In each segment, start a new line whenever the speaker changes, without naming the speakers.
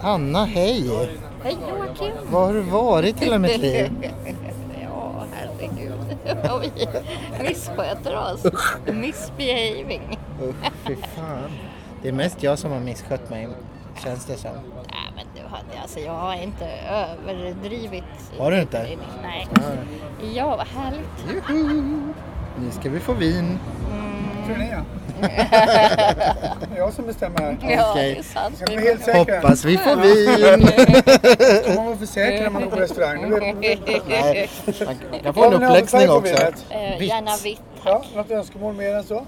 Anna, hej!
Hej Joakim!
Var har du varit hela mitt liv?
Ja, herregud. Och vi missköter oss. Misbehaving.
Usch, fy fan. Det är mest jag som har misskött mig, känns det som.
Nej, men du hade, alltså jag har inte överdrivit.
Har du inte?
i min- Nej.
Ja.
Ja, vad härligt.
Juhu! Nu ska vi få vin.
turné. Det är jag som bestämmer här.
Ja,
Okej.
det är sant.
Jag kommer helt säker.
Hoppas vi får vin!
Får man vara för säker när man går på restaurang? Nu vet man inte.
Nej, man kan få
Har
en
ni någon
uppläxning
färg på
också.
vinet?
Eh,
Vitt.
Gärna vitt.
Ja, något önskemål mer än så?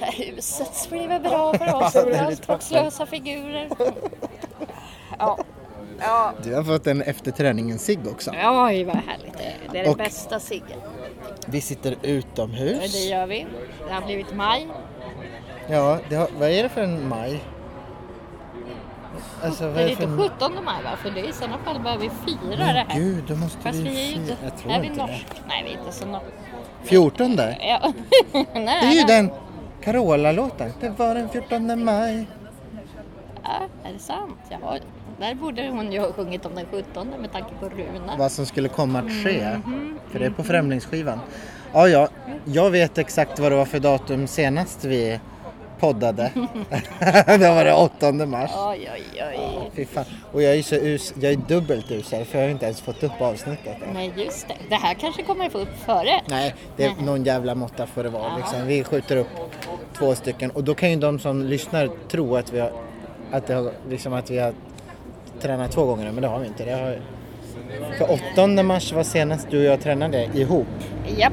Huset skulle vara bra för oss
det är
anspråkslösa figurer. Ja. Ja,
Du har fått en efter träningen cigg också.
oj vad härligt det är. Det är
Och-
den bästa ciggen.
Vi sitter
Det
utomhus.
gör vi. Det har blivit maj.
Ja, det har, vad är det för en maj? Alltså, vad
Det
är
är
det för
inte
en...
17 maj va? För det är, i sådana fall behöver vi fira det
Men
här.
gud, då måste
Fast
vi
vi är ju inte...
fi- Mm, Jag tror
Är vi
inte det.
norska? Nej, vi är inte så norska.
14 där.
Ja. Nej,
Det är ju den Carola-låten. Det var den 14 maj.
Ja, är det sant? Ja, där borde hon ju ha sjungit om den 17 med tanke på Runa.
Vad som skulle komma att ske. För det är på Främlingsskivan. Ja, ja. Jag vet exakt vad det var för datum senast vi poddade. det var det 8 mars.
Oj, oj, oj.
Fy fan. Och jag är så us, jag är dubbelt usel för jag har inte ens fått upp avsnittet. än.
Nej, just det. Det här kanske kommer få upp före.
Nej, det är någon jävla måtta får det vara. Liksom. Vi skjuter upp två stycken och då kan ju de som lyssnar tro att vi har, att det har, liksom att vi har tränat två gånger men det har vi inte. Det har... För 8 mars var senast du och jag tränade ihop.
Japp.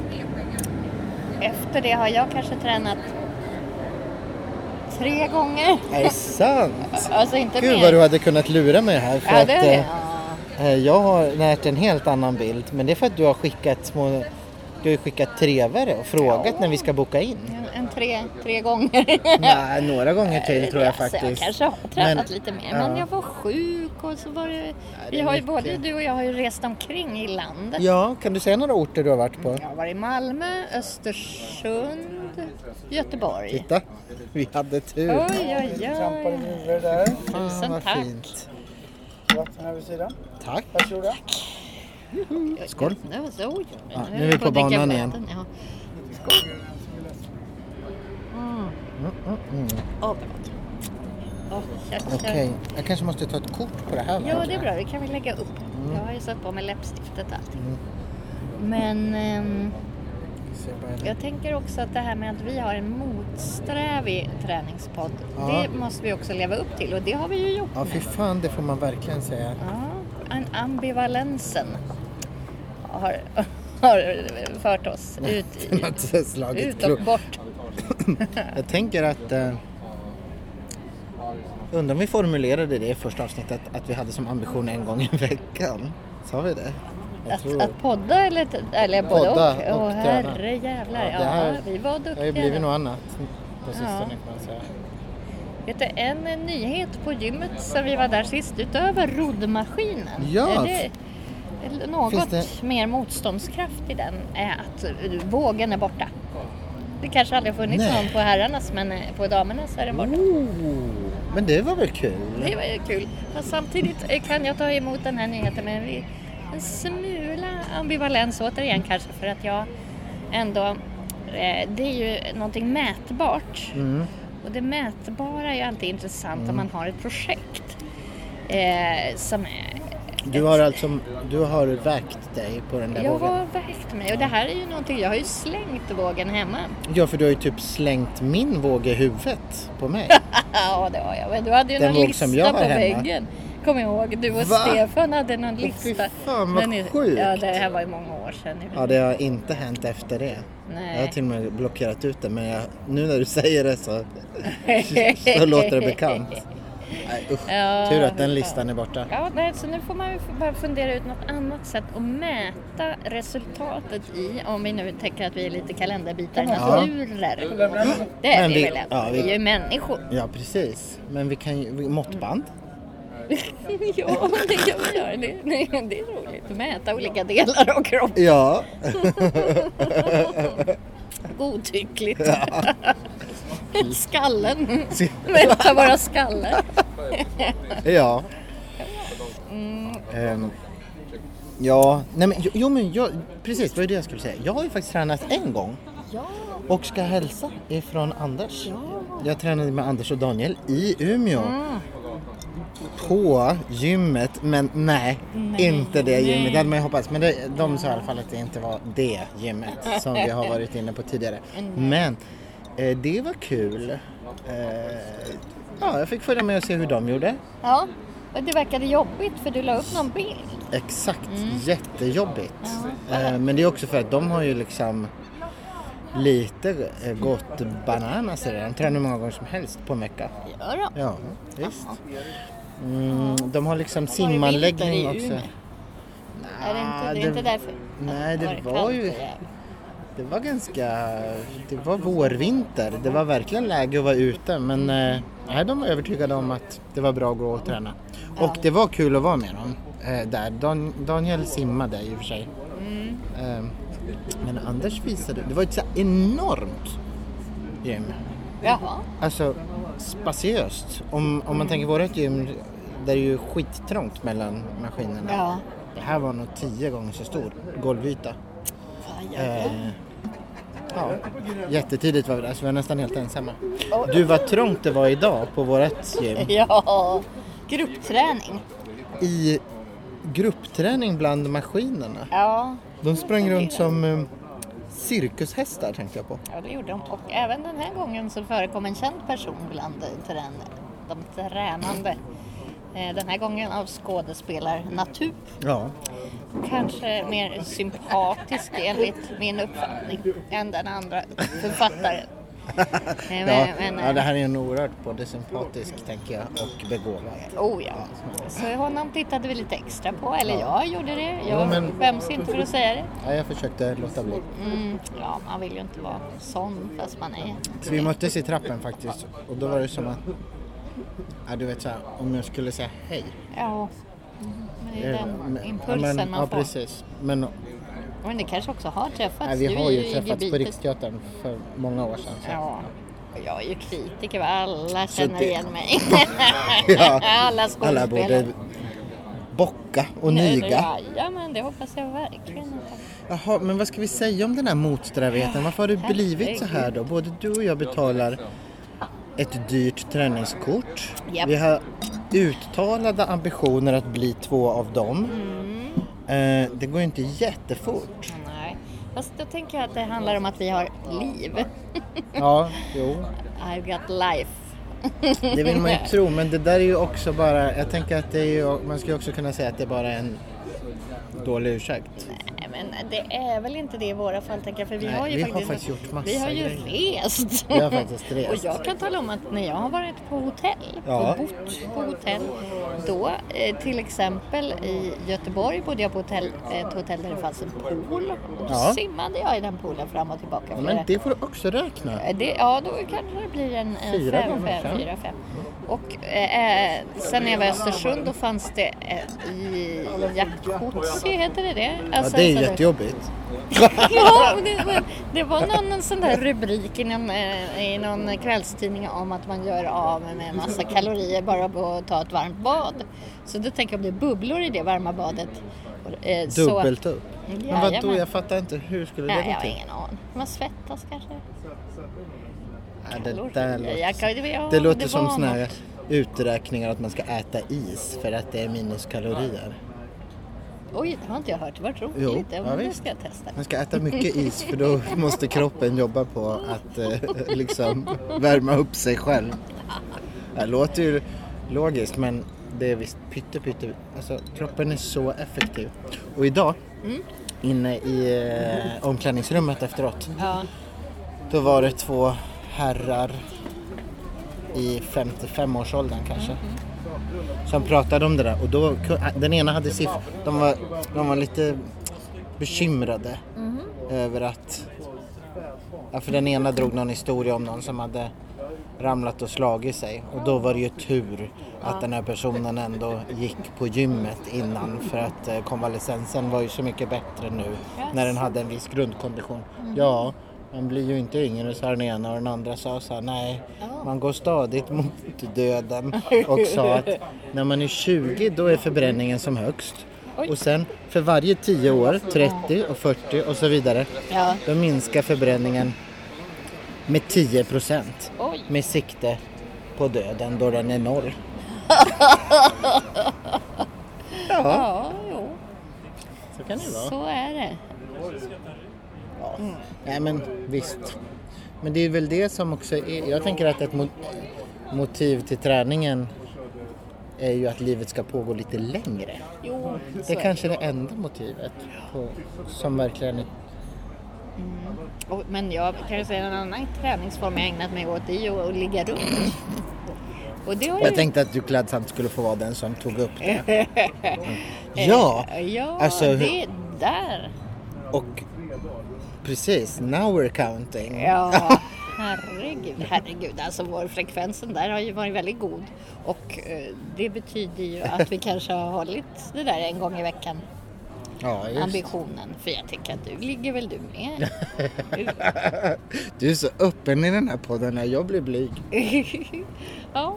Efter det har jag kanske tränat tre gånger.
Är det sant?
Alltså inte
Gud
mer.
vad du hade kunnat lura mig här för
ja,
att
det,
eh,
ja.
eh, jag har närt en helt annan bild men det är för att du har skickat små du har ju skickat trevare och frågat när vi ska boka in.
En, en tre, tre gånger.
Nej, några gånger till tror jag
Alltså,
faktiskt.
Jag kanske har tränat
Men-
lite mer,
ja.
men jag var sjuk och så var det...
det
vi
är
har ju
mycket.
både du och jag har ju rest omkring i landet.
Ja, kan du säga några orter du har varit på?
Jag har varit i Malmö, Östersund, Göteborg.
Titta, vi hade tur.
Oj, oj,
Trampade
oj.
huvud där.
Fan,
Tusen
vad
tack.
fint.
Vatten här vid sidan.
Tack.
Varsågoda.
Skål.
Nu, så, oj,
Ja,
höll
nu är vi
jag
på
att dricka
banan igen.
vatten, Ja.
Mm, mm, mm.
Åh, förlåt. Åh, jag- jag-
Okej, jag kanske måste ta ett kort på det här. va?
Ja, det är bra. Det kan vi lägga upp. Jag har ju satt på mig läppstiftet och allting.
Mm.
Men ehm,
Så jag bara-
jag tänker också att det här med att vi har en motsträvig träningspodd,
Ja.
det måste vi också leva upp till och det har vi ju gjort.
Ja, fy fan, det får man verkligen säga.
Ja, an- ambivalensen har, har fört oss ut, i,
Att jag slagit
ut
klok.
och bort.
Jag tänker att... Eh, undrar om vi formulerade det i första avsnittet, att vi hade som ambition en gång i veckan. Sa vi det? Jag
Att,
tror...
att podda eller, t- eller både
Podda
och.
och
Åh
träna.
herre jävlar.
Ja,
Ja,
det här-
vi var
Det
duktiga.
har ju blivit
där.
något annat på sistone kan man säga.
Vet du, en nyhet på gymmet sen vi var där sist, utöver roddmaskinen.
Ja.
är det Något
Finns det-
mer motståndskraft i den är att eh, vågen är borta. Det kanske aldrig har funnits
Nej.
någon på herrarnas, men eh, på damernas är den borta.
Oh, men det var väl kul?
Det var ju kul. Men samtidigt eh, kan jag ta emot den här nyheten med en vi- en smula ambivalens återigen kanske för att jag ändå, eh, det är ju någonting mätbart.
Mm.
Och det mätbara är ju alltid intressant om man har ett projekt. Eh, som är,
Du har alltså du har vägt dig på den där
jag
vågen?
har vägt mig och det här är ju någonting, jag har ju slängt vågen hemma.
Ja, för du har ju typ slängt min våg i huvudet på mig.
ja det har jag, men du hade ju
Den
någon
våg
lista
som jag
på
har hemma.
väggen. Kommer jag ihåg, du och
Va?
Stefan hade någon
Åh,
lista.
fy fan, vad
Den är-
sjukt.
Ja det här var ju många år sedan. nu.
Ja, det typ har inte hänt efter det. Jag har
Nej.
till och med blockerat ut det, men jag, nu när du säger det så, så låter det bekant. Nej, usch.
Ja,
Tur att den
hur
listan är borta.
Ja, nej, så nu får man ju f- bara fundera ut något annat sätt att mäta resultatet i, om vi nu tänker att vi är lite kalenderbitarnaturer. Det är
Men
vi,
vi-
väl ändå?
ja, vi-
vi är ju människor.
Ja, precis. Men vi kan ju... vi- Måttband?
ja, det kan vi göra. Det, nej, det är roligt att mäta olika delar av kroppen.
Ja.
Godtyckligt. Skallen. Mäta våra skallar.
ja.
Mm,
Ehm, ja, nej men, jo, jo men jag, precis, det var ju det jag skulle säga. Jag har ju faktiskt tränat en gång
ja,
och ska hälsa ifrån Anders.
ja. Mm.
Jag tränade med Anders och Daniel i Umeå. På gymmet, men nej,
Nej,
inte det
nej.
gymmet. Det hade man ju hoppats. Men det, de sa i alla fall att det inte var det gymmet som vi har varit inne på tidigare. Men eh, det var kul. Eh, ja, jag fick följa med och se hur de gjorde.
ja. Och det verkade jobbigt för du la upp någon bild.
Exakt,
Mm.
jättejobbigt. Eh, men det är också för att de har ju liksom lite eh, gått bananas i det. De tränar hur många gånger som helst på en vecka.
Ja, då.
Ja, visst. Mm, de har liksom simanläggning
vinter i
också.
Umeå? Är det inte, det är
det-
inte därför?
Nej,
Var
det var
kallt
ju...
och jävligt?
Det var ganska... Det var vårvinter. Det var verkligen läge att vara ute men eh, nej, de var övertygade om att det var bra att gå och träna. Och det var kul att vara med dem eh, där. Dan, Daniel simmade i och för sig. Eh, men Anders visade... Det var ett så här enormt gym.
Jaha.
Alltså spatiöst. Om, om man tänker vårt gym där är ju skittrångt mellan maskinerna.
Ja.
Det här var nog tio gånger så stor golvyta.
Fan, jag-
Eh, ja, jättetidigt var vi där så vi var nästan helt ensamma. Du, vad trångt det var idag på vårt gym.
Ja. Gruppträning.
I gruppträning bland maskinerna.
Ja.
De sprang runt som eh, cirkushästar tänkte jag på.
ja, det gjorde de. Och även den här gången så förekom en känd person bland trän de tränande. Eh, Den här gången av skådespelarnatur.
Ja,
Kanske mer sympatisk enligt min uppfattning än den andra författaren. Eh, Men,
ja,
men, eh,
ja det här är en oerhört både sympatisk tänker jag och begåvad.
Oh ja. Så honom tittade vi lite extra på, eller jag gjorde det.
Ja,
Jag
men-
skäms inte för att säga det.
Ja, jag försökte låta bli.
Mm, ja, man vill ju inte vara sån fast man är.
Så vi möttes i trappen faktiskt och då var det som att, ja, du vet så här, om jag skulle säga hej.
Ja, men Mm, det är
Eh,
den
men-
impulsen
men,
man
Ja
får.
precis, men
Men det kanske också har träffats.
nej, vi
Du
har
är
ju träffats på
gebitet.
Riksteatern för många år sedan. Så.
Ja. Och Jag är ju kritiker, va? alla känner
det-
igen mig.
Ja,
alla
Alla
skådespelare.
borde bocka och
Ja,
niga.
Jajamän, det hoppas jag verkligen.
Jaha, men vad ska vi säga om den här motsträvigheten? Varför har det blivit så här då? Både du och jag betalar ett dyrt träningskort.
Japp.
Vi har uttalade ambitioner att bli två av dem.
Mm.
Eh, det går ju inte jättefort.
Nej, fast då tänker jag att det handlar om att vi har liv.
Ja, jo.
I've got life.
Det vill man ju tro, men det där är ju också bara... Jag tänker att det är ju, man skulle också kunna säga att det är bara en dålig ursäkt.
Nej, men det är väl inte det i våra fall, tänker jag. För vi
Nej,
har ju
vi har
faktiskt,
faktiskt gjort massa
Vi har ju
grejer.
rest.
Vi har faktiskt rest.
Och jag kan tala om att när jag har varit på hotell
Ja.
och bott på hotell, då eh, till exempel i Göteborg bodde jag på hotell, ett hotell där det fanns en pool. Och då
Ja.
simmade jag i den poolen fram och tillbaka.
Ja,
flera-
men det får du också räkna.
Eh, Det, ja, då kanske det blir en, en
Fyra
fem,
gånger fem.
fem, fyra, fem. Och eh, eh, sen när jag var i Östersund då fanns det eh, i jaktkortsi, heter det det?
Ja,
Alltså,
det
en
är
sån där-
jättejobbigt.
Ja, men det, men det var någon en sån där rubrik i någon, eh, i någon kvällstidning om att man gör av med en massa kalorier bara på att ta ett varmt bad. Så då tänker jag om det är bubblor i det varma badet. Och, eh, så-
Dubbelt upp. Men vadå,
Jajamän.
jag fattar inte. Hur skulle det
Nej, jag
gå
har
till?
ingen aning. Man svettas kanske.
Ja, det där
Jag
låter,
kan- det- ja,
det låter
det
som
var
såna här
något.
uträkningar att man ska äta is för att det är minuskalorier.
Oj, det har inte jag hört. Vad roligt.
Jo,
ja,
ja,
men det
visst.
ska jag testa.
Man ska äta mycket is för då måste kroppen jobba på att eh, liksom värma upp sig själv. Det låter ju logiskt men det är visst pytte pytte. Alltså kroppen är så effektiv. Och idag inne i eh, omklädningsrummet efteråt
Ja.
då var det två herrar i 55-årsåldern kanske. Som pratade om det där och då, äh, den ena hade siffror, de var, de var lite bekymrade över att, ja, för den ena drog någon historia om någon som hade ramlat och slagit sig och då var det ju tur att den här personen ändå gick på gymmet innan för att
Mm.
eh, konvalescensen var ju så mycket bättre nu när den hade en viss grundkondition. Ja, Man blir ju inte yngre sa den ena och den andra sa så här, nej,
Ja.
man går stadigt mot döden och sa att när man är 20 då är förbränningen som högst.
Oj.
Och sen för varje 10 år, 30 och 40 och så vidare,
Ja.
då minskar förbränningen med 10 procent
Oj.
med sikte på döden då den är noll. ja,
Ja, jo,
så kan det vara.
så är det.
Ja. Nej men visst. Men det är väl det som också är, jag tänker att ett mo- motiv till träningen är ju att livet ska pågå lite längre.
Jo,
Det
så
är
är
kanske är det enda motivet på, som verkligen är...
Och- Men jag kan ju säga en annan träningsform jag ägnat mig åt, det är ju att ligga runt. Och det har
Jag
ju...
tänkte att du klädsamt skulle få vara den som tog upp det. Ja,
Ja,
alltså,
det är där.
och precis, now we're counting.
Ja, herregud, herregud. Alltså vår frekvensen där har ju varit väldigt god. Och eh, det betyder ju att vi kanske har hållit det där en gång i veckan.
Ja, just.
Ambitionen. För jag tänker att du ligger väl du med?
Du är så öppen i den här podden när jag blir blyg.
ja,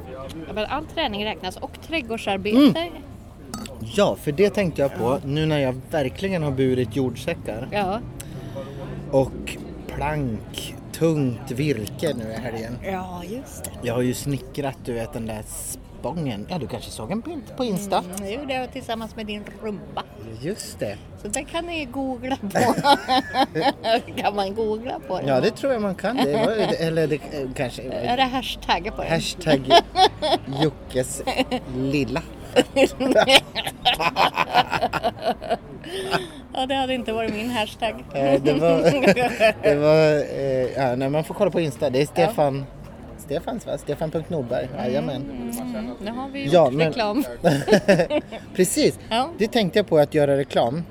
men all träning räknas och trädgårdsarbete.
Mm. Ja, för det tänkte jag på nu när jag verkligen har burit jordsäckar.
Ja,
och plank, tungt virke nu i helgen.
ja, just det.
Jag har ju snickrat du vet den där spången. Ja du kanske såg en bild på Insta?
Mm, det gjorde jag tillsammans med din rumba.
Just det.
Så det kan ni googla på. kan man googla på det?
Ja det tror jag man kan. Det var, eller det eh, kanske
Är
var
det hashtaggar på det?
hashtag Jockes lilla.
Ja, det hade inte varit min hashtag.
Eh, Det var, det var eh, ja, nej, man får kolla på Insta. Det är Stefan, Stefans va? Stefan.Norberg. Jajamän.
Mm, nu har vi gjort
Ja, men-
reklam.
Precis.
Ja.
Det tänkte jag på att göra reklam.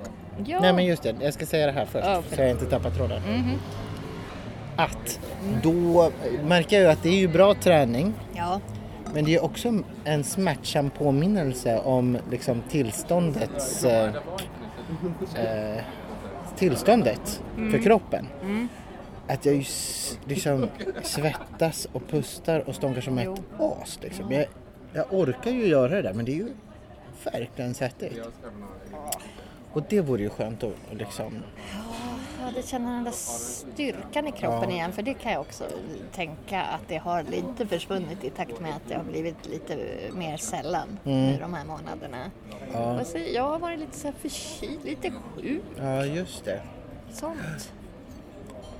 Ja.
Nej men just det, jag ska säga det här först
Ja, Mm-hmm. okej.
så jag inte tappar tråden. Att då märker jag ju att det är ju bra träning
ja.
men det är också en smärtsam påminnelse om liksom tillståndets eh, eh, tillståndet för kroppen. Att jag ju s- liksom svettas och pustar och stånkar som ett as. Liksom. Jag, jag orkar ju göra det där men det är ju verkligen svettigt. Och det vore ju skönt att att liksom
Ja, det känner den där styrkan i kroppen igen. För det kan jag också tänka att det har lite försvunnit i takt med att det har blivit lite mer sällan
Mm.
nu de här månaderna. Och så, jag har varit lite så här förkyld, lite sjuk,
Ja, just det.
sånt.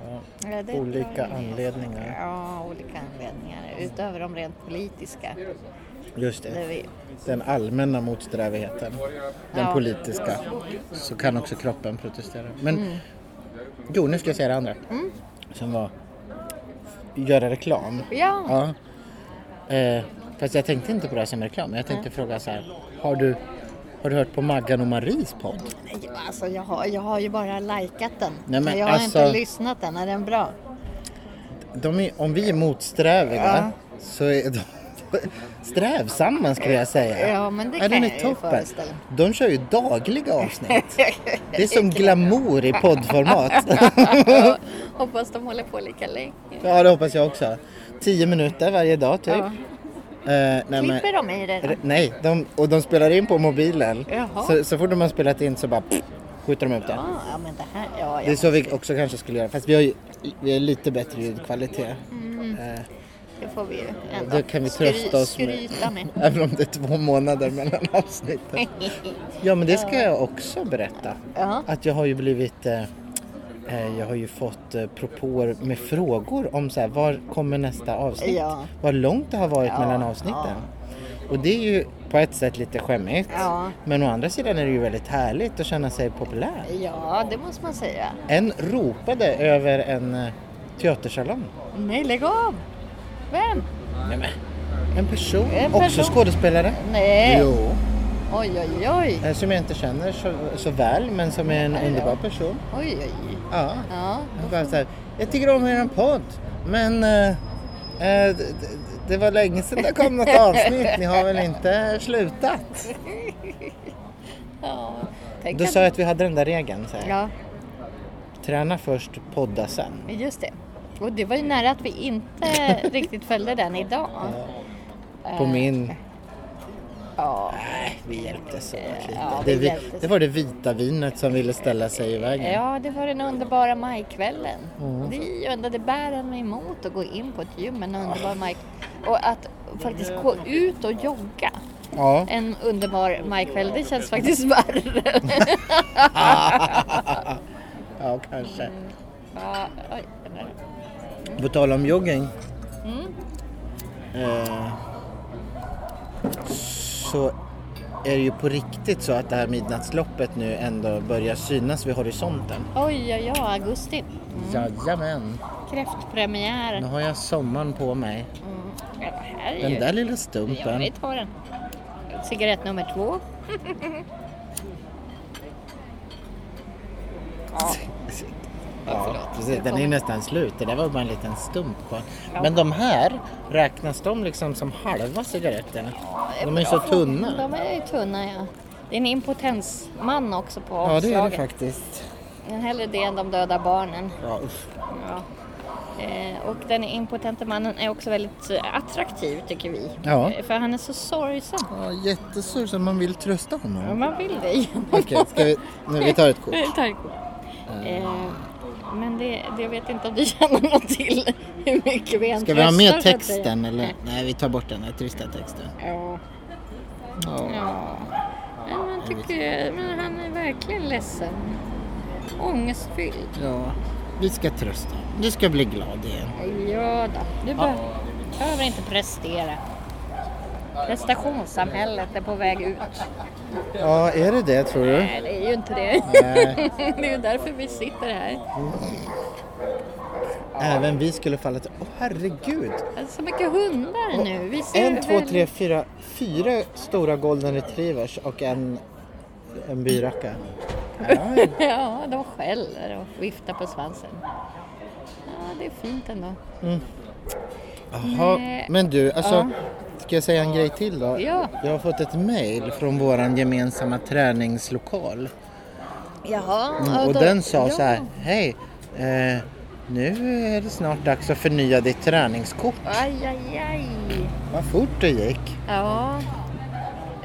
Ja, det
Olika
drar ner.
anledningar.
Ja, olika anledningar. Utöver de rent politiska.
Just
Där
det.
vi,
Den allmänna motsträvigheten. Den
Ja.
politiska. Så kan också kroppen protestera. Men jo, nu ska jag säga det andra. Som var göra reklam.
ja,
Ja. Eh, fast jag tänkte inte på det här som reklam. Jag tänkte fråga så här. Har du, har du hört på Maggan och Maries podd?
nej, alltså jag har, jag har ju bara likat den.
Nej, men
men jag har
alltså-
inte lyssnat än. Är den bra?
De är, om vi är motsträviga
Ja.
så är de strävsamma skulle jag säga.
Ja, men det
den
kan
är
jag ju
toppen.
föreställa mig.
De kör ju dagliga avsnitt. Det är som glamour i poddformat.
Hoppas de håller på lika länge.
ja, det hoppas jag också. Tio minuter varje dag typ.
Ja.
Eh, nej, men-
Klipper de i det då?
re- nej de, och de spelar in på mobilen.
Jaha.
Så, så fort de har spelat in så bara pff, skjuter de ut det.
Ah, Ja, ja, men det här, ja,
Det är
ja.
så vi också kanske skulle göra. Fast vi har ju vi har lite bättre ljudkvalitet.
Mm.
Eh,
det får vi ju ändå
Det kan vi trösta oss med.
skryta med.
Även om det är två månader mellan avsnitten. Ja men det ska jag också berätta.
Ja.
Att jag har ju blivit eh, eh, jag har ju fått eh, propåer med frågor om så här, var kommer nästa avsnitt?
Ja.
Vad långt det har varit
Ja,
mellan avsnitten. Och det är ju på ett sätt lite skämmigt.
Ja.
Men å andra sidan är det ju väldigt härligt att känna sig populär.
ja, det måste man säga.
En ropade över en eh, teatersalong.
Nej, lägg av! Vem?
Nej, men, en person,
En
också
person.
skådespelare.
Nej,
Jo.
oj, oj, oj.
Eh, Som jag inte känner så, så väl, men som är en underbar person.
Oj, oj.
Ja.
Ja,
Han bara så här, jag tycker om er podd, men eh, eh, d- d- det var länge sedan det kom något avsnitt. Ni har väl inte slutat?
ja. Tänk
Då
att-
sa jag att vi hade den där regeln. Så här.
Ja.
Träna först, podda sen.
Just det. Och det var ju nära att vi inte riktigt följde den idag.
På
Eh.
min...
Ja,
Vi hjälptes åt lite.
Eh, Ja, vi
det, vi,
hjälptes.
det var det vita vinet som ville ställa sig i vägen.
ja det var den underbara majkvällen.
Mm.
Vi undrade bären mig emot att gå in på ett gym en underbar maj. Och att faktiskt gå ut och jogga
Ja.
en underbar majkväll, det känns faktiskt värre.
Ja, kanske.
Ja, oj, den där.
På tal om jogging. Mm. Eh, så är det ju på riktigt så att det här midnattsloppet nu ändå börjar synas vid horisonten.
oj, oj, oj, augusti.
Mm. Jajamän,
Kräftpremiär.
nu har jag sommaren på mig.
Mm. Ja, det här är
Den
ju...
där lilla
Ja, vi
stumpen.
tar den. Cigarett nummer två. ja.
Ja, precis. Den är ju nästan slut. Det där var bara en liten stump kvar.
Ja.
Men de här, räknas de liksom som halva cigaretterna? De är ju så tunna.
De är ju tunna ja. Det är en impotensman också på
Ja, det är det
omslaget.
faktiskt.
Men hellre det än de döda barnen.
Ja, usch.
Ja. Eh, och den impotente mannen är också väldigt eh, attraktiv tycker vi.
Ja.
Eh, För han är så sorgsen.
Ja, jättesur så man vill trösta honom.
Ja, Man vill det genom
Okej, ska vi, nu vi tar ett kort.
Tack. Eh, men det, det vet inte om du känner något till hur mycket vi än
Ska vi ha
tröstar, så
med
att säga.
texten eller? Nej, vi tar bort den här trista texten.
Ja.
Ja.
ja. Men, man tycker, men han är verkligen ledsen. Ångestfylld.
ja. Vi ska trösta. Du ska bli glad igen.
Ja, då. du behöver, behöver inte prestera. Prestationssamhället är på väg ut.
Ja, är det det tror du?
Nej, det är ju inte det.
Nej.
det är ju därför vi sitter här.
Även vi skulle falla till... Åh herregud!
Det är Alltså, så mycket hundar nu. Vi ser
En, två,
väl-
tre, fyra. Fyra stora golden retrievers och en, en byracka. Ja,
Ja, de skäller och viftar på svansen. Ja, det är fint ändå.
Jaha, men du, alltså, ska jag säga en grej till då?
Ja.
Jag har fått ett mejl från vår gemensamma träningslokal.
Jaha.
Mm, och den sa så här, hej, eh, nu är det snart dags att förnya ditt träningskort.
Aj, aj, aj.
Vad fort det gick.
Ja.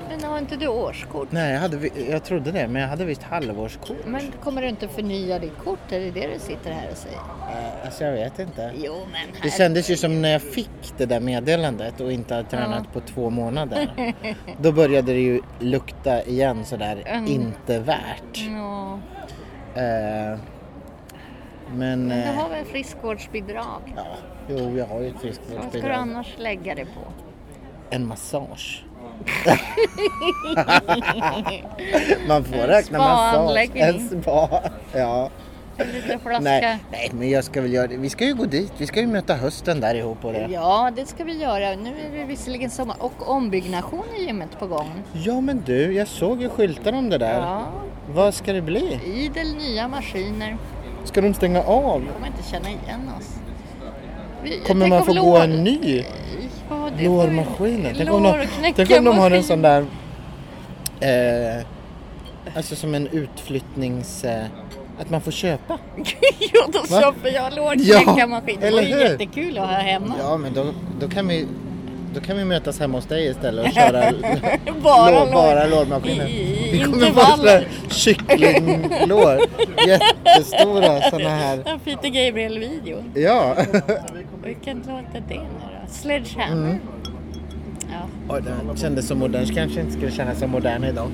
Men har inte du årskort?
Nej, jag, hade, vi- jag trodde det, men jag hade visst halvårskort.
Men kommer du inte förnya ditt kort? Är det det du sitter här och säger?
Eh, alltså jag vet inte.
Jo, men
Det
här...
kändes ju som när jag fick det där meddelandet och inte hade tränat på två månader. Då började det ju lukta igen sådär,
Mm.
inte värt.
Ja.
Eh, men...
Mm. Du
Eh,
har väl friskvårdsbidrag?
ja, jo, jag har ju ett
Vad ska du
friskvårdsbidrag.
annars lägga det på?
En massage. Man får räkna massage.
spaanläggning.
En spa. Ja.
En liten flaska?
Nej, nej, men jag ska väl göra det. Vi ska ju gå dit. Vi ska ju möta hösten där ihop och det.
Ja, det ska vi göra. Nu är det visserligen sommar och ombyggnation i gymmet på gång.
Ja, men du, jag såg ju skyltar om det där.
Ja,
Vad ska det bli?
idel nya maskiner.
Ska de stänga av?
kommer inte känna igen oss. Vi,
Kommer
tänk
man
om
få
lår-
gå en ny?
Ja, det får vi-
Lårmaskinen? Tänk om, de,
Lårknäckarmaskin.
tänk om de har en sån där... Eh, alltså som en utflyttnings... Eh, att man får köpa.
ja, då
Va?
köper jag lårknäckarmaskin. det
eller
vore ju
hur?
jättekul att ha hemma.
Ja, men då, då kan vi... Då kan vi mötas hemma hos dig istället och köra
Bara
lår,
lår.
bara lårmaskinen.
I- i-
Vi kommer få
intervaller.
sådana kycklinglår. Jättestora sådana här.
Den Peter Gabriel-videon.
Ja.
Vilken låt är det nu då? Sledgehammer?
Mm.
Ja.
Oj, den kändes så modern. Kanske inte skulle kännas så modern idag.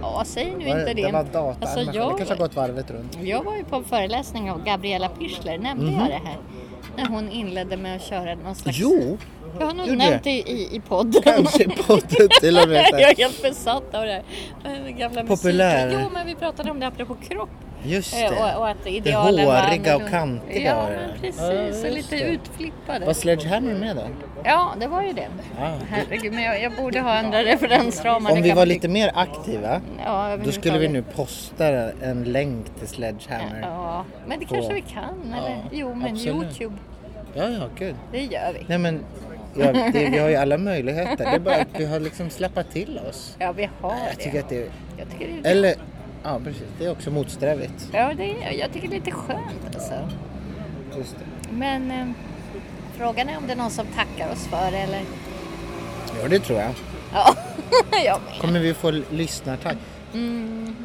ja, säg nu
Var
inte det.
det var datan.
Alltså,
men Det
jag,
kanske har gått varvet runt.
jag var ju på en föreläsning av Gabriella Pichler, nämnde
Mhm.
jag det här? När hon inledde med att köra någon slags...
Jo,
Jag har nog
gjorde
nämnt
det.
det i, i podden.
kanske podden till och med. så
jag
här.
är helt besatt av det här. Men den Gamla
Populär.
musiken. Jo, men vi pratade om det apropå kropp.
Just
Eh,
det.
Och, och att
Det
idealen var
håriga och
annorlunda.
kantiga.
Ja,
var det.
men
Ja,
precis.
just
och lite
det.
utflippade.
Var Sledgehammer med då?
Ja, det var ju det.
Ja.
Herregud, men jag, jag borde ha andra referensramar. det
Om vi
kan
var
man
lite mer aktiva,
tycka. Ja,
då skulle vi nu posta en länk till Sledgehammer.
Ja, men det kanske vi kan. Eller? Jo, men
absolut.
Youtube,
Ja, ja, gud.
det gör vi.
Nej men, ja, det, vi har ju alla möjligheter. Det är bara att vi har liksom släppt till oss.
Ja, vi har
Jag tycker
det.
att det
Jag tycker det är...
Eller Ja, precis. Det är också motsträvigt.
Ja, det är, jag tycker det är lite skönt alltså.
Just det.
Men eh, frågan är om det är någon som tackar oss för det eller?
Ja, det tror jag.
Ja, jag med.
Kommer vi få lyssnartack? Mm.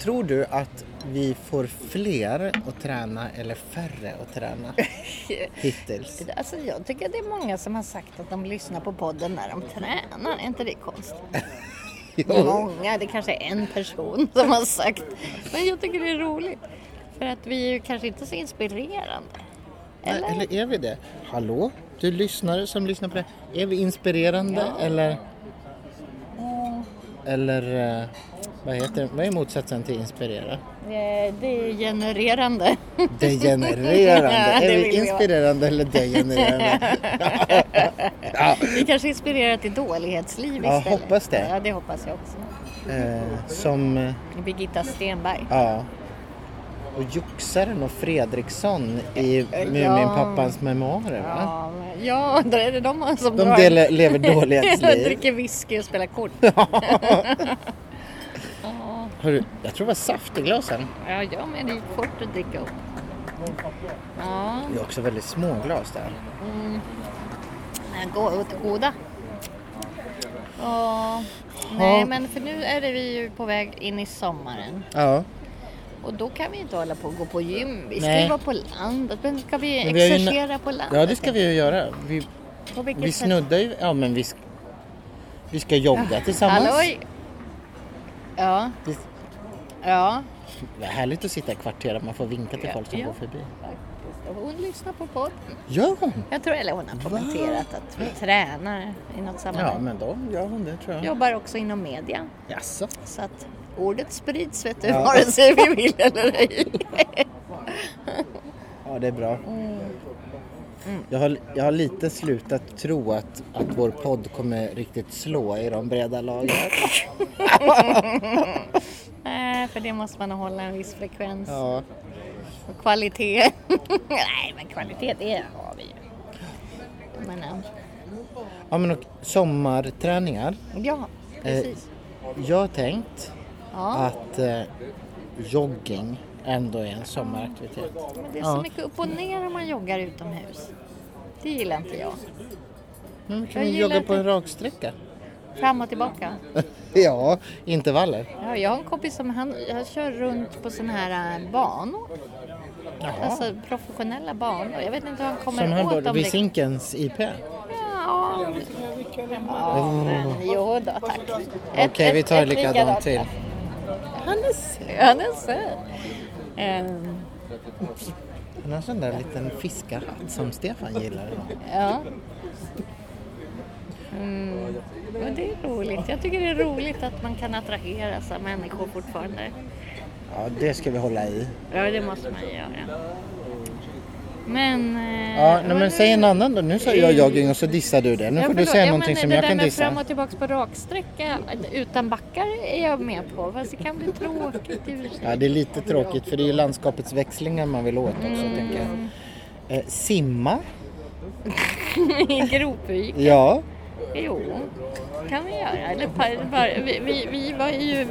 Tror du att vi får fler att träna eller färre att träna hittills?
Alltså jag tycker det är många som har sagt att de lyssnar på podden när de tränar. Är inte det konstigt?
Jo.
Många, det kanske är en person som har sagt. Men jag tycker det är roligt. För att vi är ju kanske inte så inspirerande.
Eller?
Eller?
är vi det? Hallå, du lyssnare som lyssnar på det. Är vi inspirerande eller? Eller eh, vad heter Vad är motsatsen till inspirera?
Eh, Det är genererande.
Degenererande.
Ja, det
är vi
vill vi ha.
inspirerande eller degenererande?
Vi kanske inspirerar till dålighetsliv
Ja,
istället.
hoppas det.
Ja, det hoppas jag också.
eh, som, eh,
Birgitta Stenberg.
ja. Och joxaren och Fredriksson i Muminpappans memoarer va?
Eh, Ja, men- ja undrar, är det de som
De
drar-
del, lever dålighetsliv.
dricker whisky och spelar kort.
Hörru, jag tror det var saft i glasen.
Ja, jag med. Det gick fort att dricka upp. Ja,
Det är också väldigt små glas där.
men go- goda. Och, nej, men för nu är det vi ju på väg in i sommaren.
Ja.
Och då kan vi inte hålla på och gå på gym. Vi ska
Nej.
ju vara på landet. Men ska vi
Men vi har ju na-
exercera på landet?
Ja, det ska vi ju göra. Vi,
På vilket
vi
sätt?
snuddar ju... Ja, men vi, sk- vi ska jogga tillsammans.
Halloj! Ja,
Det
ja.
det är härligt att sitta i kvarteret. Man får vinka till folk som
Ja.
går förbi.
faktiskt. Och Hon lyssnar på podden.
Gör hon?
Jag tror eller hon har kommenterat att vi tränar i något
Ja,
sammanhang.
men då gör hon det tror jag.
Jobbar också inom media.
Jaså?
Så att ordet sprids vet du,
Ja.
vare sig vi vill eller ej.
Ja, det är bra.
Mm.
Jag, har, jag har lite slutat tro att, att vår podd kommer riktigt slå i de breda lagren.
Nej, för det måste man hålla en viss frekvens
Ja.
och kvalitet. Nej, men kvalitet det har vi ju. Men eh,
ja, men och sommarträningar.
ja,
Eh,
precis.
Jag har tänkt
Ja,
att eh, jogging ändå är en sommaraktivitet.
men det är
ja.
så mycket upp och ner om man joggar utomhus. Det gillar inte jag.
Men kan
Jag
vi
gillar
jogga på
det.
en raksträcka?
Fram och tillbaka.
ja, intervaller.
Ja, jag har en kompis som han, han kör runt på sådana här eh, banor. Alltså professionella banor. Jag vet inte hur han kommer
Som han
åt
borde
dem. liksom.
vid
det-
Zinkens IP.
Ja, ja men jo då, tack. Ett-
Mm. Okej, vi
ett-
tar
ett
likadant till.
Han är söt. Han är söt. Ehm,
Han har sån där liten fiskarhatt som Stefan gillar.
ja. Mm. Men det är roligt. Jag tycker det är roligt att man kan attraheras av människor fortfarande.
Ja, det ska vi hålla i.
Ja, det måste man ju göra. Men... eh,
Ja, nej, men
vad-
säg en annan då. Nu sa jag jogging och så dissar du det. Nu
Ja,
får du
förlåt.
säga
Ja, men
någonting som
det
jag
där
kan
med fram
dissa.
och tillbaka på raksträcka utan backar är jag med på. Fast det kan bli tråkigt. i och för sig.
Ja, det är lite tråkigt för det är ju landskapets växlingar man vill åt också, tänker
Mm.
jag. Eh, simma?
I Gropvik.
Ja.
Jo, kan vi göra. Eller par, par, vi, vi, vi var ju...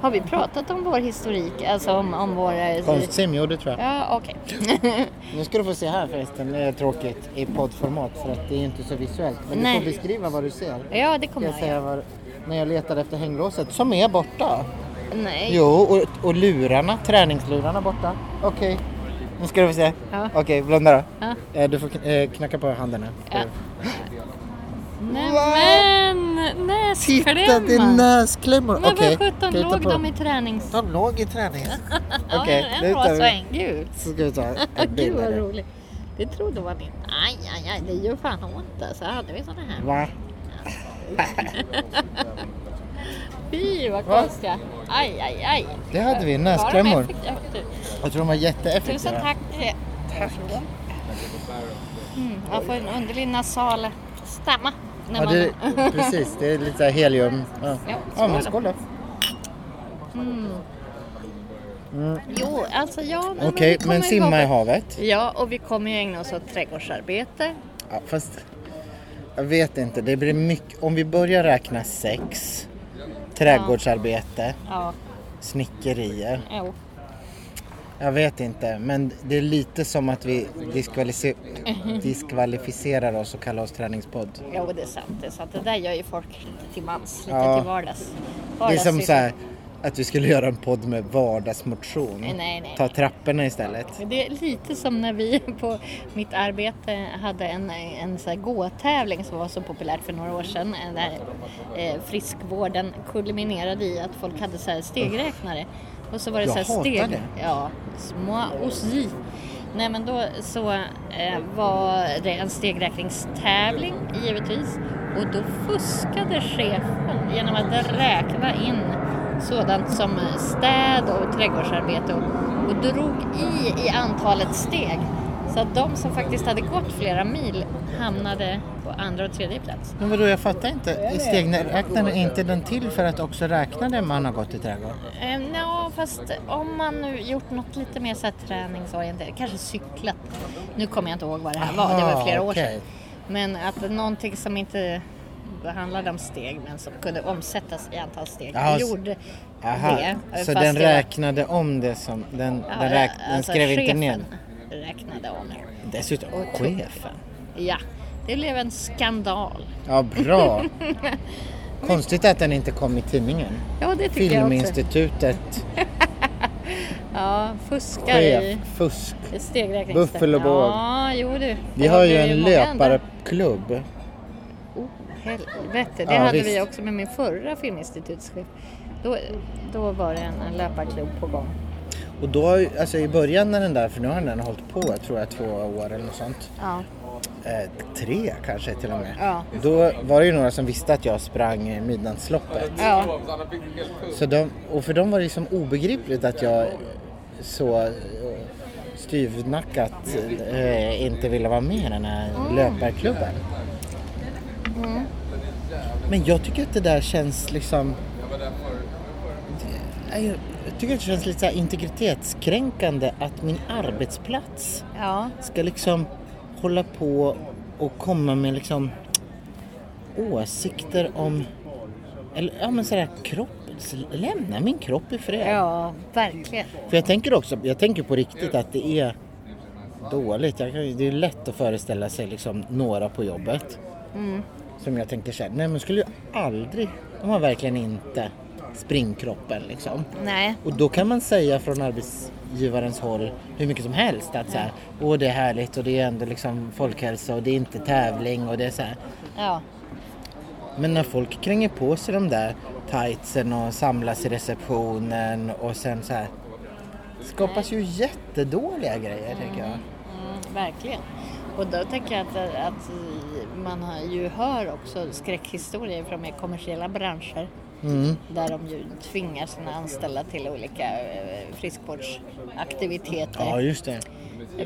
Har vi pratat om vår historik? Alltså om, om våra...
Konstsim, jo det tror jag.
Ja, okej.
Nu ska du få se här förresten, det är tråkigt i poddformat för att det är inte så visuellt. Men
Nej.
du får beskriva vad du ser.
ja, det
Ska
kommer
jag
jag
säga
göra.
vad, när jag letade efter hänglåset som är borta.
Nej.
Jo, och, och lurarna, träningslurarna borta. Okej, nu ska du få se.
Ja.
Okej, blunda då.
Ja.
Eh, Du får kn- eh, knacka på handen nu.
Ja. Nej,
Va?
men
Titta, det är
näsklämman!
näsklämmor!
Men
Okej,
vad sjutton
titta
låg
på
de
dem.
i tränings...
De låg i träningen.
ja,
Okej,
en bra
vi-
sväng. Gud.
Så ska vi ta en
Gud
bild.
vad
här.
roligt. Det trodde man inte. Aj, aj, aj, det gör fan ont alltså. Hade vi såna här?
Va?
Fy vad
Va?
konstiga. Aj, aj, aj.
Det hade vi,
Var de
näsklämmor.
effektiva?
Jag tror de var
typ. Tusen
jätteeffektiva.
tack. Tack. Mm, man får en underlig nasal stämma. När
Ja,
man...
det, precis, det är lite så här helium. Ja,
Ja,
ja men skål
skål.
då.
Jo, alltså ja. nej, men
Okej,
vi kommer
men
ju
simma
vara-
i havet.
Ja, och vi kommer ju ägna oss åt trädgårdsarbete.
Ja, fast jag vet inte, det blir mycket. Om vi börjar räkna sex, trädgårdsarbete,
Ja,
snickerier.
Jo.
Jag vet inte, men det är lite som att vi diskvalisi- diskvalificerar oss och kallar oss träningspodd.
jo, det är sant. Det, är sant. det där gör ju folk lite till mans, lite
Ja.
till vardags.
Det är
Vardags-
som så här, att vi skulle göra en podd med vardagsmotion.
Nej, nej, nej.
Ta trapporna istället.
Det är lite som när vi på mitt arbete hade en, en så här gåtävling som var så populär för några år sedan. eh, Där eh, friskvården kulminerade i att folk hade så här stegräknare. Och så var det
Jag
så här
hatar
steg...
det.
Ja, små osi. Nej men då så eh, var det en stegräkningstävling givetvis. Och då fuskade chefen genom att räkna in sådant som städ och trädgårdsarbete och, och drog i i antalet steg. Så att de som faktiskt hade gått flera mil hamnade på andra och tredje plats.
Men vadå, jag fattar inte. Stegräknaren, är inte den till för att också räkna det man har gått i trädgården?
Eh, Nja, fast om man nu gjort något lite mer så här träningsorienterat, kanske cyklat. Nu kommer jag inte ihåg vad det här var, det var
Aha,
flera år
okej.
sedan. Men att någonting som inte handlade om steg men som kunde omsättas i antal steg
Jaha, s-
gjorde
Aha,
det. eh,
så
fast
den
det var-
räknade om det som... Den,
Ja,
den, räk, den
alltså
skrev inte
chefen
ner.
räknade om det.
Dessutom chefen.
Ja, det blev en skandal.
Ja, bra. Konstigt att den inte kom i tidningen.
Ja, det tycker jag också.
Filminstitutet,
Ja, fuskar i
chef, fusk.
i stegräkning.
Buffalobåg.
Ja, jo du.
Vi
Det
har ju
blev
en
många andra-
löpareklubb.
Oh, helvete, det
Ja,
hade
visst.
vi också med min förra filminstitutschef. Då, då var det en, en löparklubb på gång.
Och då, har ju- alltså i början när den där, för nu har den hållit på jag tror jag två år eller något sånt.
Ja.
Eh, tre kanske till och med.
Ja.
Då var det ju några som visste att jag sprang eh, midnattsloppet.
ja.
Så de, och för dem var det ju som obegripligt att jag så eh, styvnackat eh, inte ville vara med i den här löparklubben. Men jag tycker att det där känns liksom... Det- Jag tycker att det känns lite så här integritetskränkande att min arbetsplats
ja.
ska liksom hålla på och komma med liksom åsikter om, eller ja men sådär kropp, lämna min kropp i fred.
Ja, verkligen.
För jag tänker också, jag tänker på riktigt att det är dåligt. Jag kan, ju- det är lätt att föreställa sig liksom några på jobbet som jag tänker såhär, nej men skulle ju aldrig, de har verkligen inte springkroppen liksom.
Nej.
Och då kan man säga från arbetsgivarens håll hur mycket som helst att så här, åh det är härligt och det är ändå liksom folkhälsa och det är inte tävling och det är så här.
Ja.
Men när folk kränger på sig de där tightsen och samlas i receptionen och sen så här skapas ju jättedåliga grejer tänker jag.
Mm, verkligen. Och då tänker jag att, att man har ju hör också skräckhistorier från mer kommersiella branscher.
Mm.
Där de ju tvingar sina anställda till olika eh, friskvårdsaktiviteter.
Ja just det.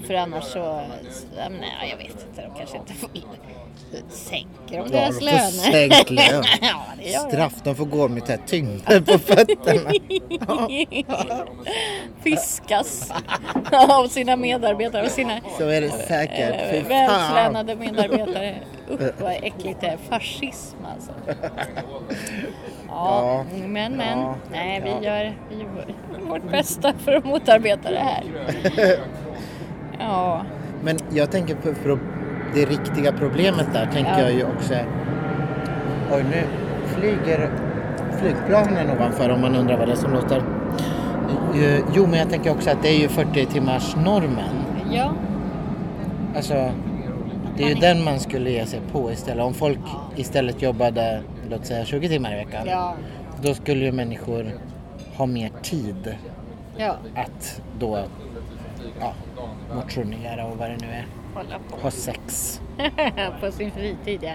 För annars så, ja, men, nej, jag vet inte, de kanske inte får, sänker de
Ja, de
deras
får
löner.
sänkt lön.
ja, det gör de.
Straff, de får gå med så här tyngder på fötterna.
Fiskas av sina medarbetare, av sina
Så är det säkert.
eh,
Fy fan.
vältränade medarbetare. Usch vad äckligt det är, fascism alltså.
Ja.
Ja, men men,
Ja.
nej
Ja.
vi gör, vi gör vårt bästa för att motarbeta det här. Ja,
Men jag tänker på pro- det riktiga problemet där, tänker
Ja.
jag ju också. Oj, nu flyger flygplanen ovanför om man undrar vad det är som låter. Eh, Jo, men jag tänker också att det är ju 40 timmars normen.
ja.
Alltså, det är ju den man skulle ge sig på istället. Om folk istället jobbade, låt säga 20 timmar i veckan,
ja.
då skulle ju människor ha mer tid
ja.
att då ja, motionera och vad det nu är.
hålla på.
Ha sex.
på sin fritid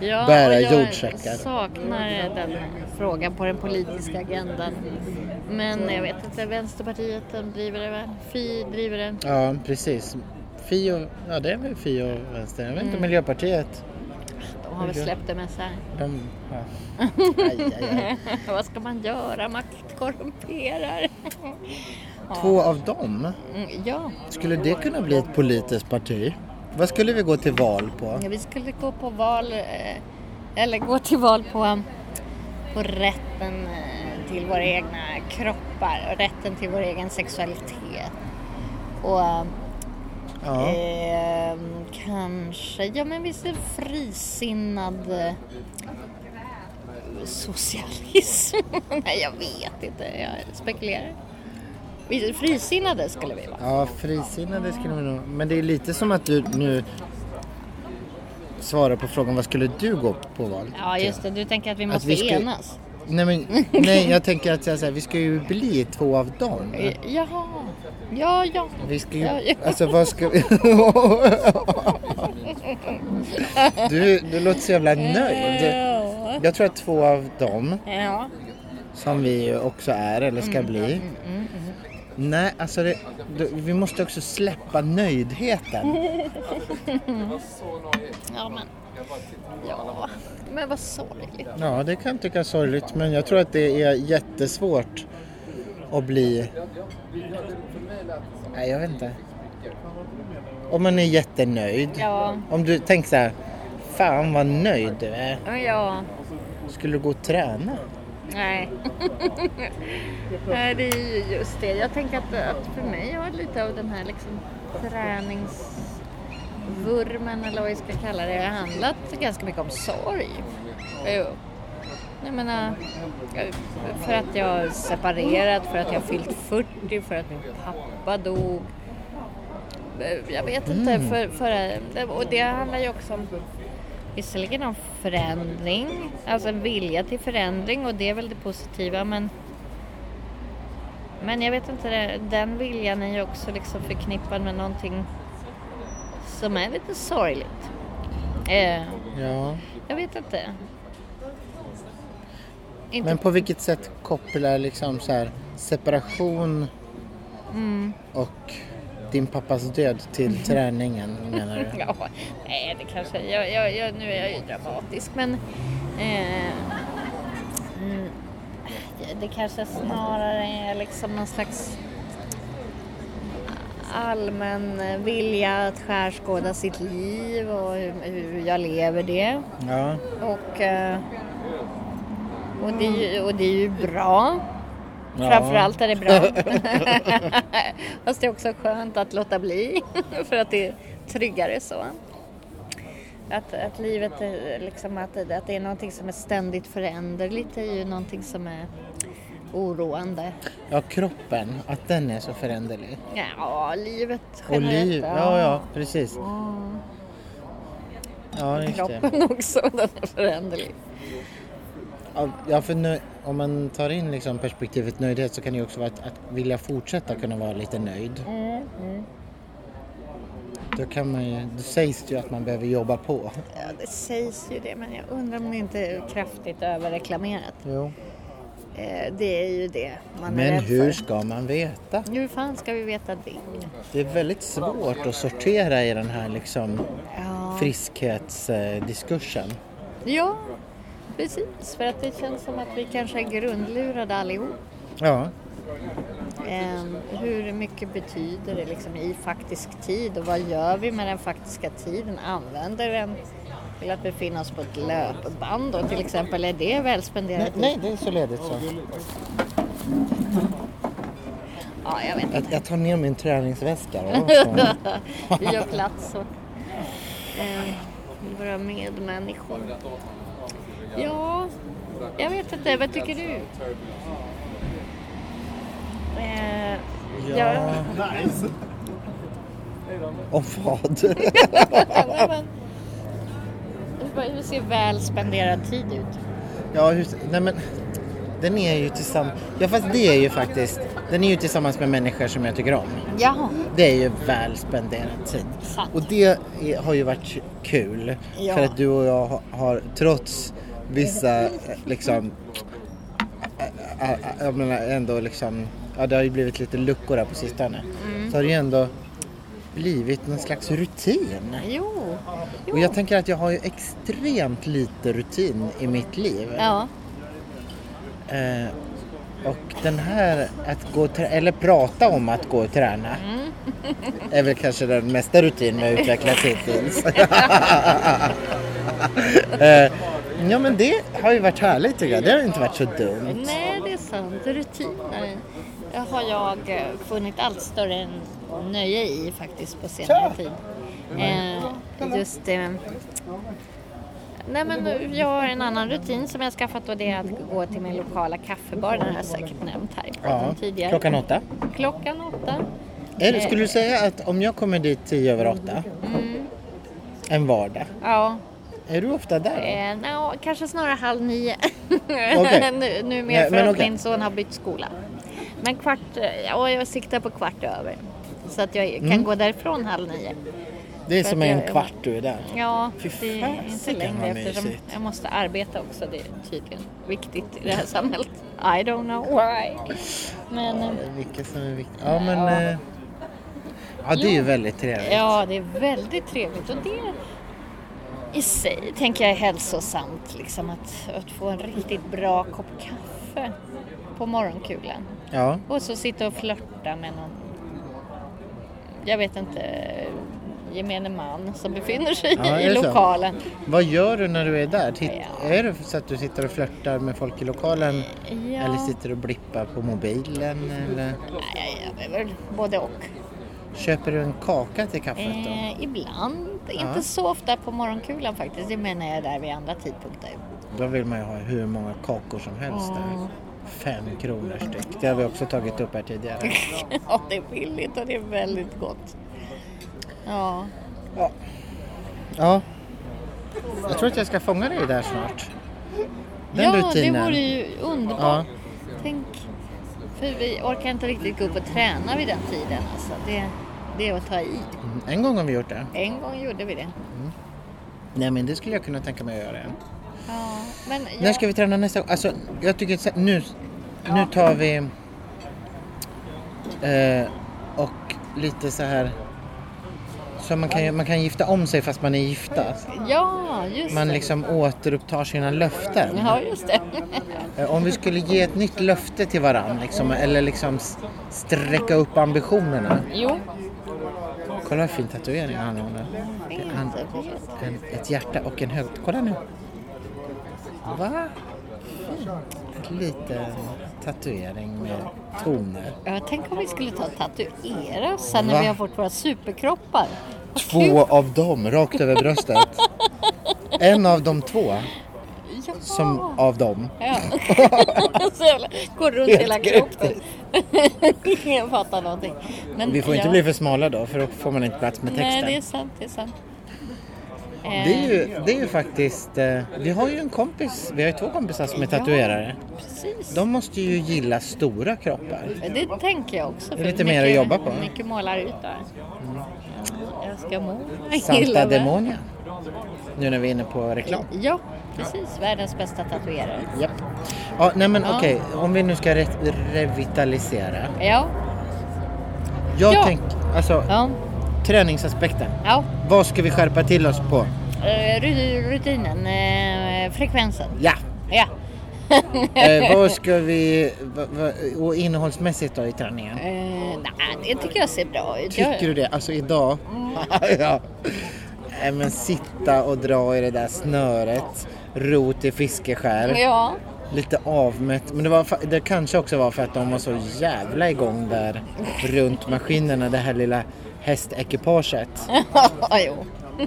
ja.
Bära
och
jordsäckar.
Jag saknar den frågan på den politiska agendan. Men jag vet inte, Vänsterpartiet de driver det väl? Fi driver den.
Ja, precis. Fi och, ja det är väl Fi och Vänstern. Jag vet
Mm.
inte, Miljöpartiet.
De har väl
Okej.
släppt det med så här.
De, ja. aj, aj, aj.
Vad ska man göra? Makt korrumperar.
Två av dem,
Mm, ja,
skulle det kunna bli ett politiskt parti? Vad skulle vi gå till val på?
vi skulle gå på val, eh, eller gå till val på, på rätten eh, till våra egna kroppar och rätten till vår egen sexualitet. Och eh,
Ja.
ehm, kanske, ja men visst en frisinnad eh, socialism? Nej, jag vet inte, jag spekulerar. Vi- Frisinnade skulle vi vara.
Ja, frisinnade skulle vi nog... Men det är lite som att du nu svarar på frågan vad skulle du gå på val
Ja,
till?
just det, du tänker att vi måste
vi ska-
enas?
Nej, men, nej, jag tänker att säga så här, vi ska ju bli två av dem.
Jaha, ja, ja.
Vi ska
Ja, ja.
ju... Alltså vad ska vi... du, du låter så jävla nöjd.
Ja.
Jag tror att två av dem,
Ja.
som vi ju också är eller
Mm,
ska bli. Nej, alltså det, du- vi måste också släppa nöjdheten.
ja, men... Ja, men vad sorgligt.
Ja, det kan tyckas sorgligt men jag tror att det är jättesvårt att bli... Nej, jag vet inte. Om man är jättenöjd.
Ja.
Om du tänker så här, fan vad nöjd du är.
Ja,
Skulle du gå och träna?
nej. nej, det är ju just det. Jag tänker att, att för mig har lite av den här liksom träningsvurmen, eller vad vi ska kalla det, handlat ganska mycket om sorg. Jo. Jag menar, för att jag separerat, för att jag fyllt 40, för att min pappa dog. Jag vet inte. För, för, och det handlar ju också om visserligen om förändring, alltså en vilja till förändring och det är väl det positiva men men jag vet inte, det- den viljan är ju också liksom förknippad med någonting som är lite sorgligt. Eh,
Ja.
jag vet inte. Inte
Men på vilket sätt kopplar liksom så här, separation och din pappas död till träningen menar du?
Ja, nej, det kanske... Jag, jag, jag, nu är jag ju dramatisk, men... Eh, mm, det kanske snarare är liksom någon slags allmän vilja att skärskåda sitt liv och hur, hur jag lever det.
Ja.
Och, eh, och, det, är ju- och det är ju bra.
Ja.
Framförallt är det bra. Fast det är också skönt att låta bli för att det är tryggare så. Att, att livet är liksom att, att det är någonting som är ständigt föränderligt är ju någonting som är oroande.
ja, kroppen, att den är så föränderlig.
Ja, livet
Och
generellt.
liv, ja ja precis. Ja, just det.
Kroppen också, den är föränderlig.
Ja, Ja, för nu, om man tar in liksom perspektivet nöjdhet så kan det ju också vara att, att vilja fortsätta kunna vara lite nöjd. Då kan man ju, då sägs det ju att man behöver jobba på.
Ja, det sägs ju det, men jag undrar om det inte är kraftigt överreklamerat.
Jo.
Eh, det är ju det man är
Men
rädd
hur
för.
ska man veta?
Hur fan ska vi veta det?
Det är väldigt svårt att sortera i den här liksom
Ja.
friskhetsdiskursen.
Ja, precis. För att det känns som att vi kanske är grundlurade allihop.
Ja.
Ehm, hur mycket betyder det liksom i faktisk tid och vad gör vi med den faktiska tiden? Använder vi den till att befinna oss på ett löpband och till exempel är det väl spenderat
Nej,
tid?
nej, det är så ledigt så.
Ja, jag vet inte.
Jag, jag tar ner min träningsväska då. Så.
Vi gör plats åt eh, våra medmänniskor. Ja, jag vet inte. Vad tycker du? Eh, ja.
Ja. Och vad?
men- men- Hur ser väl spenderad tid ut?
Ja, hur, nej men. Den är ju tillsammans. Ja, fast det är ju faktiskt. Den är ju tillsammans med människor som jag tycker om.
Ja,
Det är ju väl spenderad tid.
Sant.
Och det är, har ju varit kul.
Ja. Mm.
För att du och jag har, har trots vissa eh, liksom... ä- ä- ä- Jag menar ändå liksom... Ja, det har ju blivit lite luckor här på sistone.
Mm.
Så har det ju ändå blivit någon slags rutin.
jo. jo.
Och jag tänker att jag har ju extremt lite rutin i mitt liv.
Ja,
Eh, och den här att gå och trä- eller prata om att gå och träna
Mm.
är väl kanske den mesta rutin jag utvecklat hittills. eh, ja men det har ju varit härligt tycker jag. Det har ju inte varit så dumt.
Mm. nej det är resande rutiner har jag eh, funnit allt större än nöje i faktiskt på senare tid. Eh, just eh, Nej men eh, jag har en annan rutin som jag skaffat och det är att gå till min lokala kaffebar. Den har jag säkert nämnt här i podden
Ja,
tidigare.
klockan åtta.
Klockan åtta.
Eller skulle du säga att om jag kommer dit tio över åtta,
Mm.
en vardag,
Ja,
är du ofta där?
Eh, no, kanske snarare halv nio.
Okej.
nu, nu mer
Nej,
för
men
att
okej.
min son har bytt skola. Men kvart, eh, ja, jag siktar på kvart över. Så att jag
Mm.
kan gå därifrån halv nio.
då? Det är
för
som
att
en
jag-
kvart du är där.
Ja,
Fy
det är inte
fasiken,
längre
vad
eftersom
mysigt.
jag måste arbeta också. Det är tydligen viktigt i det här samhället. I don't know why. Men eh,
Vilket som är viktigt. Ja, men...
Ja.
eh, Ja, det är ju
Jo.
väldigt trevligt.
ja, det är väldigt trevligt och det i sig tänker jag är hälsosamt. Liksom att, att få en riktigt bra kopp kaffe på morgonkulan.
Ja.
Och så sitta och flörta med någon, jag vet inte, gemene man som befinner sig
Ja, är
i
det så?
lokalen.
Vad gör du när du är där? Titt,
Ja.
Är det så att du sitter och flörtar med folk i lokalen?
Ja.
Eller sitter och blippar på mobilen? Eller
Nej, jag är väl både och.
köper du en kaka till kaffet då?
Eh, ibland,
Ja.
inte så ofta på morgonkulan faktiskt. Det menar jag där vid andra tidpunkter.
Då vill man ju ha hur många kakor som helst där. Fem kronor styck. Det har vi också tagit upp här tidigare.
ja, det är billigt och det är väldigt gott. Ja,
Ja. ja. Jag tror att jag ska fånga dig där snart. Den
ja
rutinen.
det vore ju underbart.
Ja.
Tänk, för vi orkar inte riktigt gå upp och träna vid den tiden. Alltså, det, det är att ta i.
Mm, En gång har vi gjort det.
En gång gjorde vi det.
Nej men det skulle jag kunna tänka mig att göra.
Ja, men jag,
När ska vi träna nästa gång? Alltså, jag tycker så- nu, nu tar vi eh, och lite så här så man kan, ju- man kan gifta om sig fast man är gifta.
Ja, just
Man
det.
liksom återupptar sina löften.
Ja, just det.
Eh, Om vi skulle ge ett nytt löfte till varandra liksom, eller liksom s- sträcka upp ambitionerna.
jo,
Kolla vad fin tatuering han har nu. Det- Han, en, ett hjärta och en hög... Kolla nu. Va? Fint. En liten tatuering med toner.
Ja, tänk om vi skulle ta och tatuera oss sen
Va?
när vi har fått våra superkroppar. Vad
Två av dem rakt över bröstet. En av de två
kul. Ja.
som av dem.
Ja. Så jävla, går runt
Helt
hela
grymt.
kroppen. Ingen fattar någonting. Men
Vi får
ja.
inte bli för smala då för då får man inte plats med
Nej, det är
texten.
sant. Det är sant. Eh,
Det är ju, det är ju faktiskt... eh, Vi har ju en kompis, vi har ju två kompisar som är tatuerare.
Precis.
De måste ju gilla stora kroppar.
Det tänker jag också.
Det är
för
lite mer att jobba på. Mm.
Mycket målar ut där. Jag ska må.
Santa Demonia. Nu när vi är inne på reklam.
Ja, precis. Världens bästa tatuerare.
Japp. Ja, nej men
Ja.
okej, om vi nu ska re revitalisera.
Ja,
Jag
Ja.
tänker, alltså
ja,
träningsaspekten.
ja.
Vad ska vi skärpa till oss på?
Eh, ru- Rutinen, eh, frekvensen.
Ja,
Ja.
eh, vad ska vi, va, va, och innehållsmässigt då i träningen?
Eh, nej, det tycker jag ser bra ut.
Tycker du det? Alltså idag?
Mm.
ja. Nej men sitta och dra i det där snöret, rot i fiskeskär.
Ja.
lite avmätt. Men det, var, fa- det kanske också var för att de var så jävla igång där runt maskinerna, det här lilla hästekipaget.
ja, jo.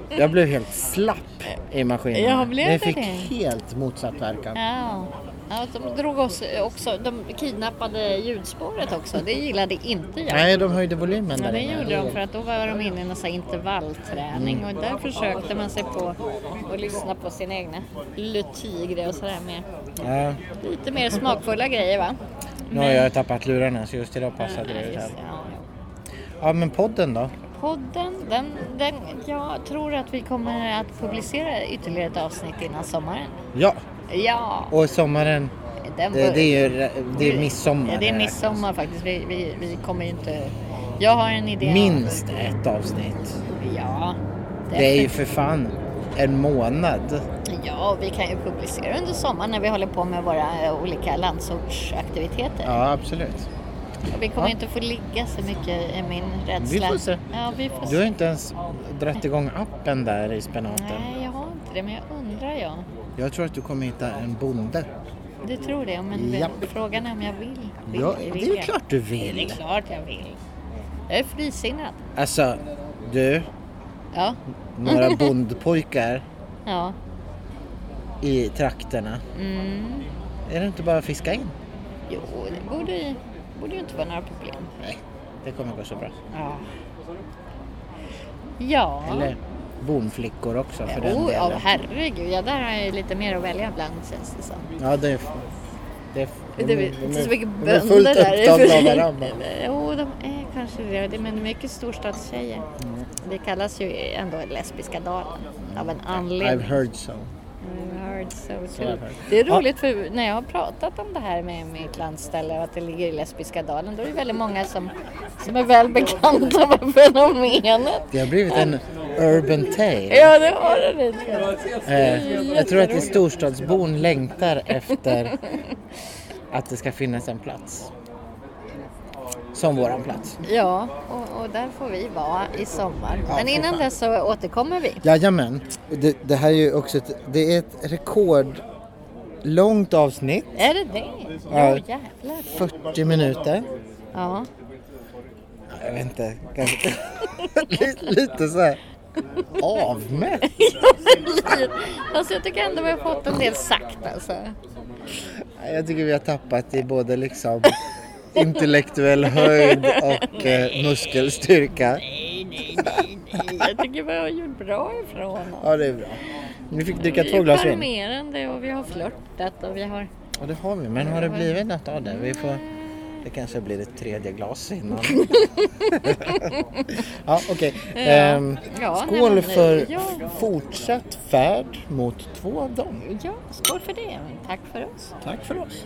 Jag blev helt slapp i maskinerna.
Ja, blev det
fick
det?
helt motsatt verkan.
Ja. ja, de drog oss också. De kidnappade ljudspåret också. Det gillade inte jag.
Nej, de höjde volymen
Ja,
där
det
inne.
gjorde de för att då var de inne i någon sån här intervallträning
Mm.
och där försökte man sig på att lyssna på sina egna lutigre och sådär med
Ja,
lite mer smakfulla grejer va?
nu har jag tappat lurarna så just idag passade det
Nej,
ut.
Mm, just
här.
det, ja, ja.
Ja, men podden då?
Podden, den, den, jag tror att vi kommer att publicera ytterligare ett avsnitt innan sommaren.
Ja,
Ja,
och sommaren, eh,
den
det,
bör-
det är ju re- det är midsommar.
Det är
här.
midsommar faktiskt. Vi, vi, vi kommer ju inte... Jag har en idé. om-
Minst ett avsnitt.
Ja.
Det är ju för fan en månad.
Ja, vi kan ju publicera under sommaren när vi håller på med våra eh, olika landsortsaktiviteter.
Ja, absolut.
Och vi kommer ju
Ja.
inte få ligga så mycket i min rädsla.
Vi får se.
Ja, vi får
Du har
se.
inte ens dragit igång appen där i spenaten.
Nej, jag har inte det, men jag undrar jag.
Jag tror att du kommer hitta en bonde
Du tror det? Men
Japp.
frågan är om jag vill. vill
Ja,
jag,
det
vill
är
jag?
klart du
Det är
vill.
klart jag vill. Jag är frisinnad.
Alltså, du,
Ja.
några bondpojkar
Ja.
i trakterna.
Mm.
Är det inte bara att fiska in?
Jo, det borde ju borde ju inte vara några problem.
Nej, det kommer gå så bra.
Ja. Ja.
Eller bonflickor också för den
oh, ja,
delen.
herregud. Ja, där har jag ju lite mer att välja bland känns det som.
Ja, det är... Det är,
Det är,
de
det är så mycket
de är
bönder
fullt
där.
upptagna av varandra.
Jo, de är kanske det. det. Men mycket storstadstjejer.
Mm.
Det kallas ju ändå lesbiska dalen av en
I've
anledning.
heard so.
I've Mm, heard so
I've
too.
heard.
Det är
Ja.
roligt för när jag har pratat om det här med mitt landställe och att det ligger i lesbiska dalen då är det väldigt många som, som är väl bekanta med fenomenet.
Det har blivit en urban tale.
Ja, det har det lite.
Eh, jag tror att det storstadsbon längtar efter att det ska finnas en plats. Som våran plats.
Ja, och, och där får vi vara i sommar.
Ja,
Men
fy
innan
fan.
dess så återkommer vi.
Jajamän. Det, det här är ju också ett, det är ett rekord långt avsnitt.
Är det det?
Ja.
Ja, jävlar.
40 minuter.
Ja.
Ja, Jag vet inte. Kanske, lite, lite så här avmätt.
Fast Alltså, jag tycker ändå vi har fått en del sagt alltså.
Nej, Jag tycker vi har tappat i både liksom intellektuell höjd och eh, muskelstyrka.
Nej, nej, nej, nej. Jag tycker vi har gjort bra ifrån oss.
Ja, det är bra. Vi fick dricka
Vi
två
är
glas vin.
charmerande och vi har flörtat och vi har...
Ja, det har vi. Men har det blivit något av det? Vi får... Det kanske blir ett tredje glas innan. ja, okej. Ehm,
Ja, nej,
skål
men-
för
ja.
fortsatt färd mot två av dem.
Ja, skål för det. Tack för oss.
Tack för oss.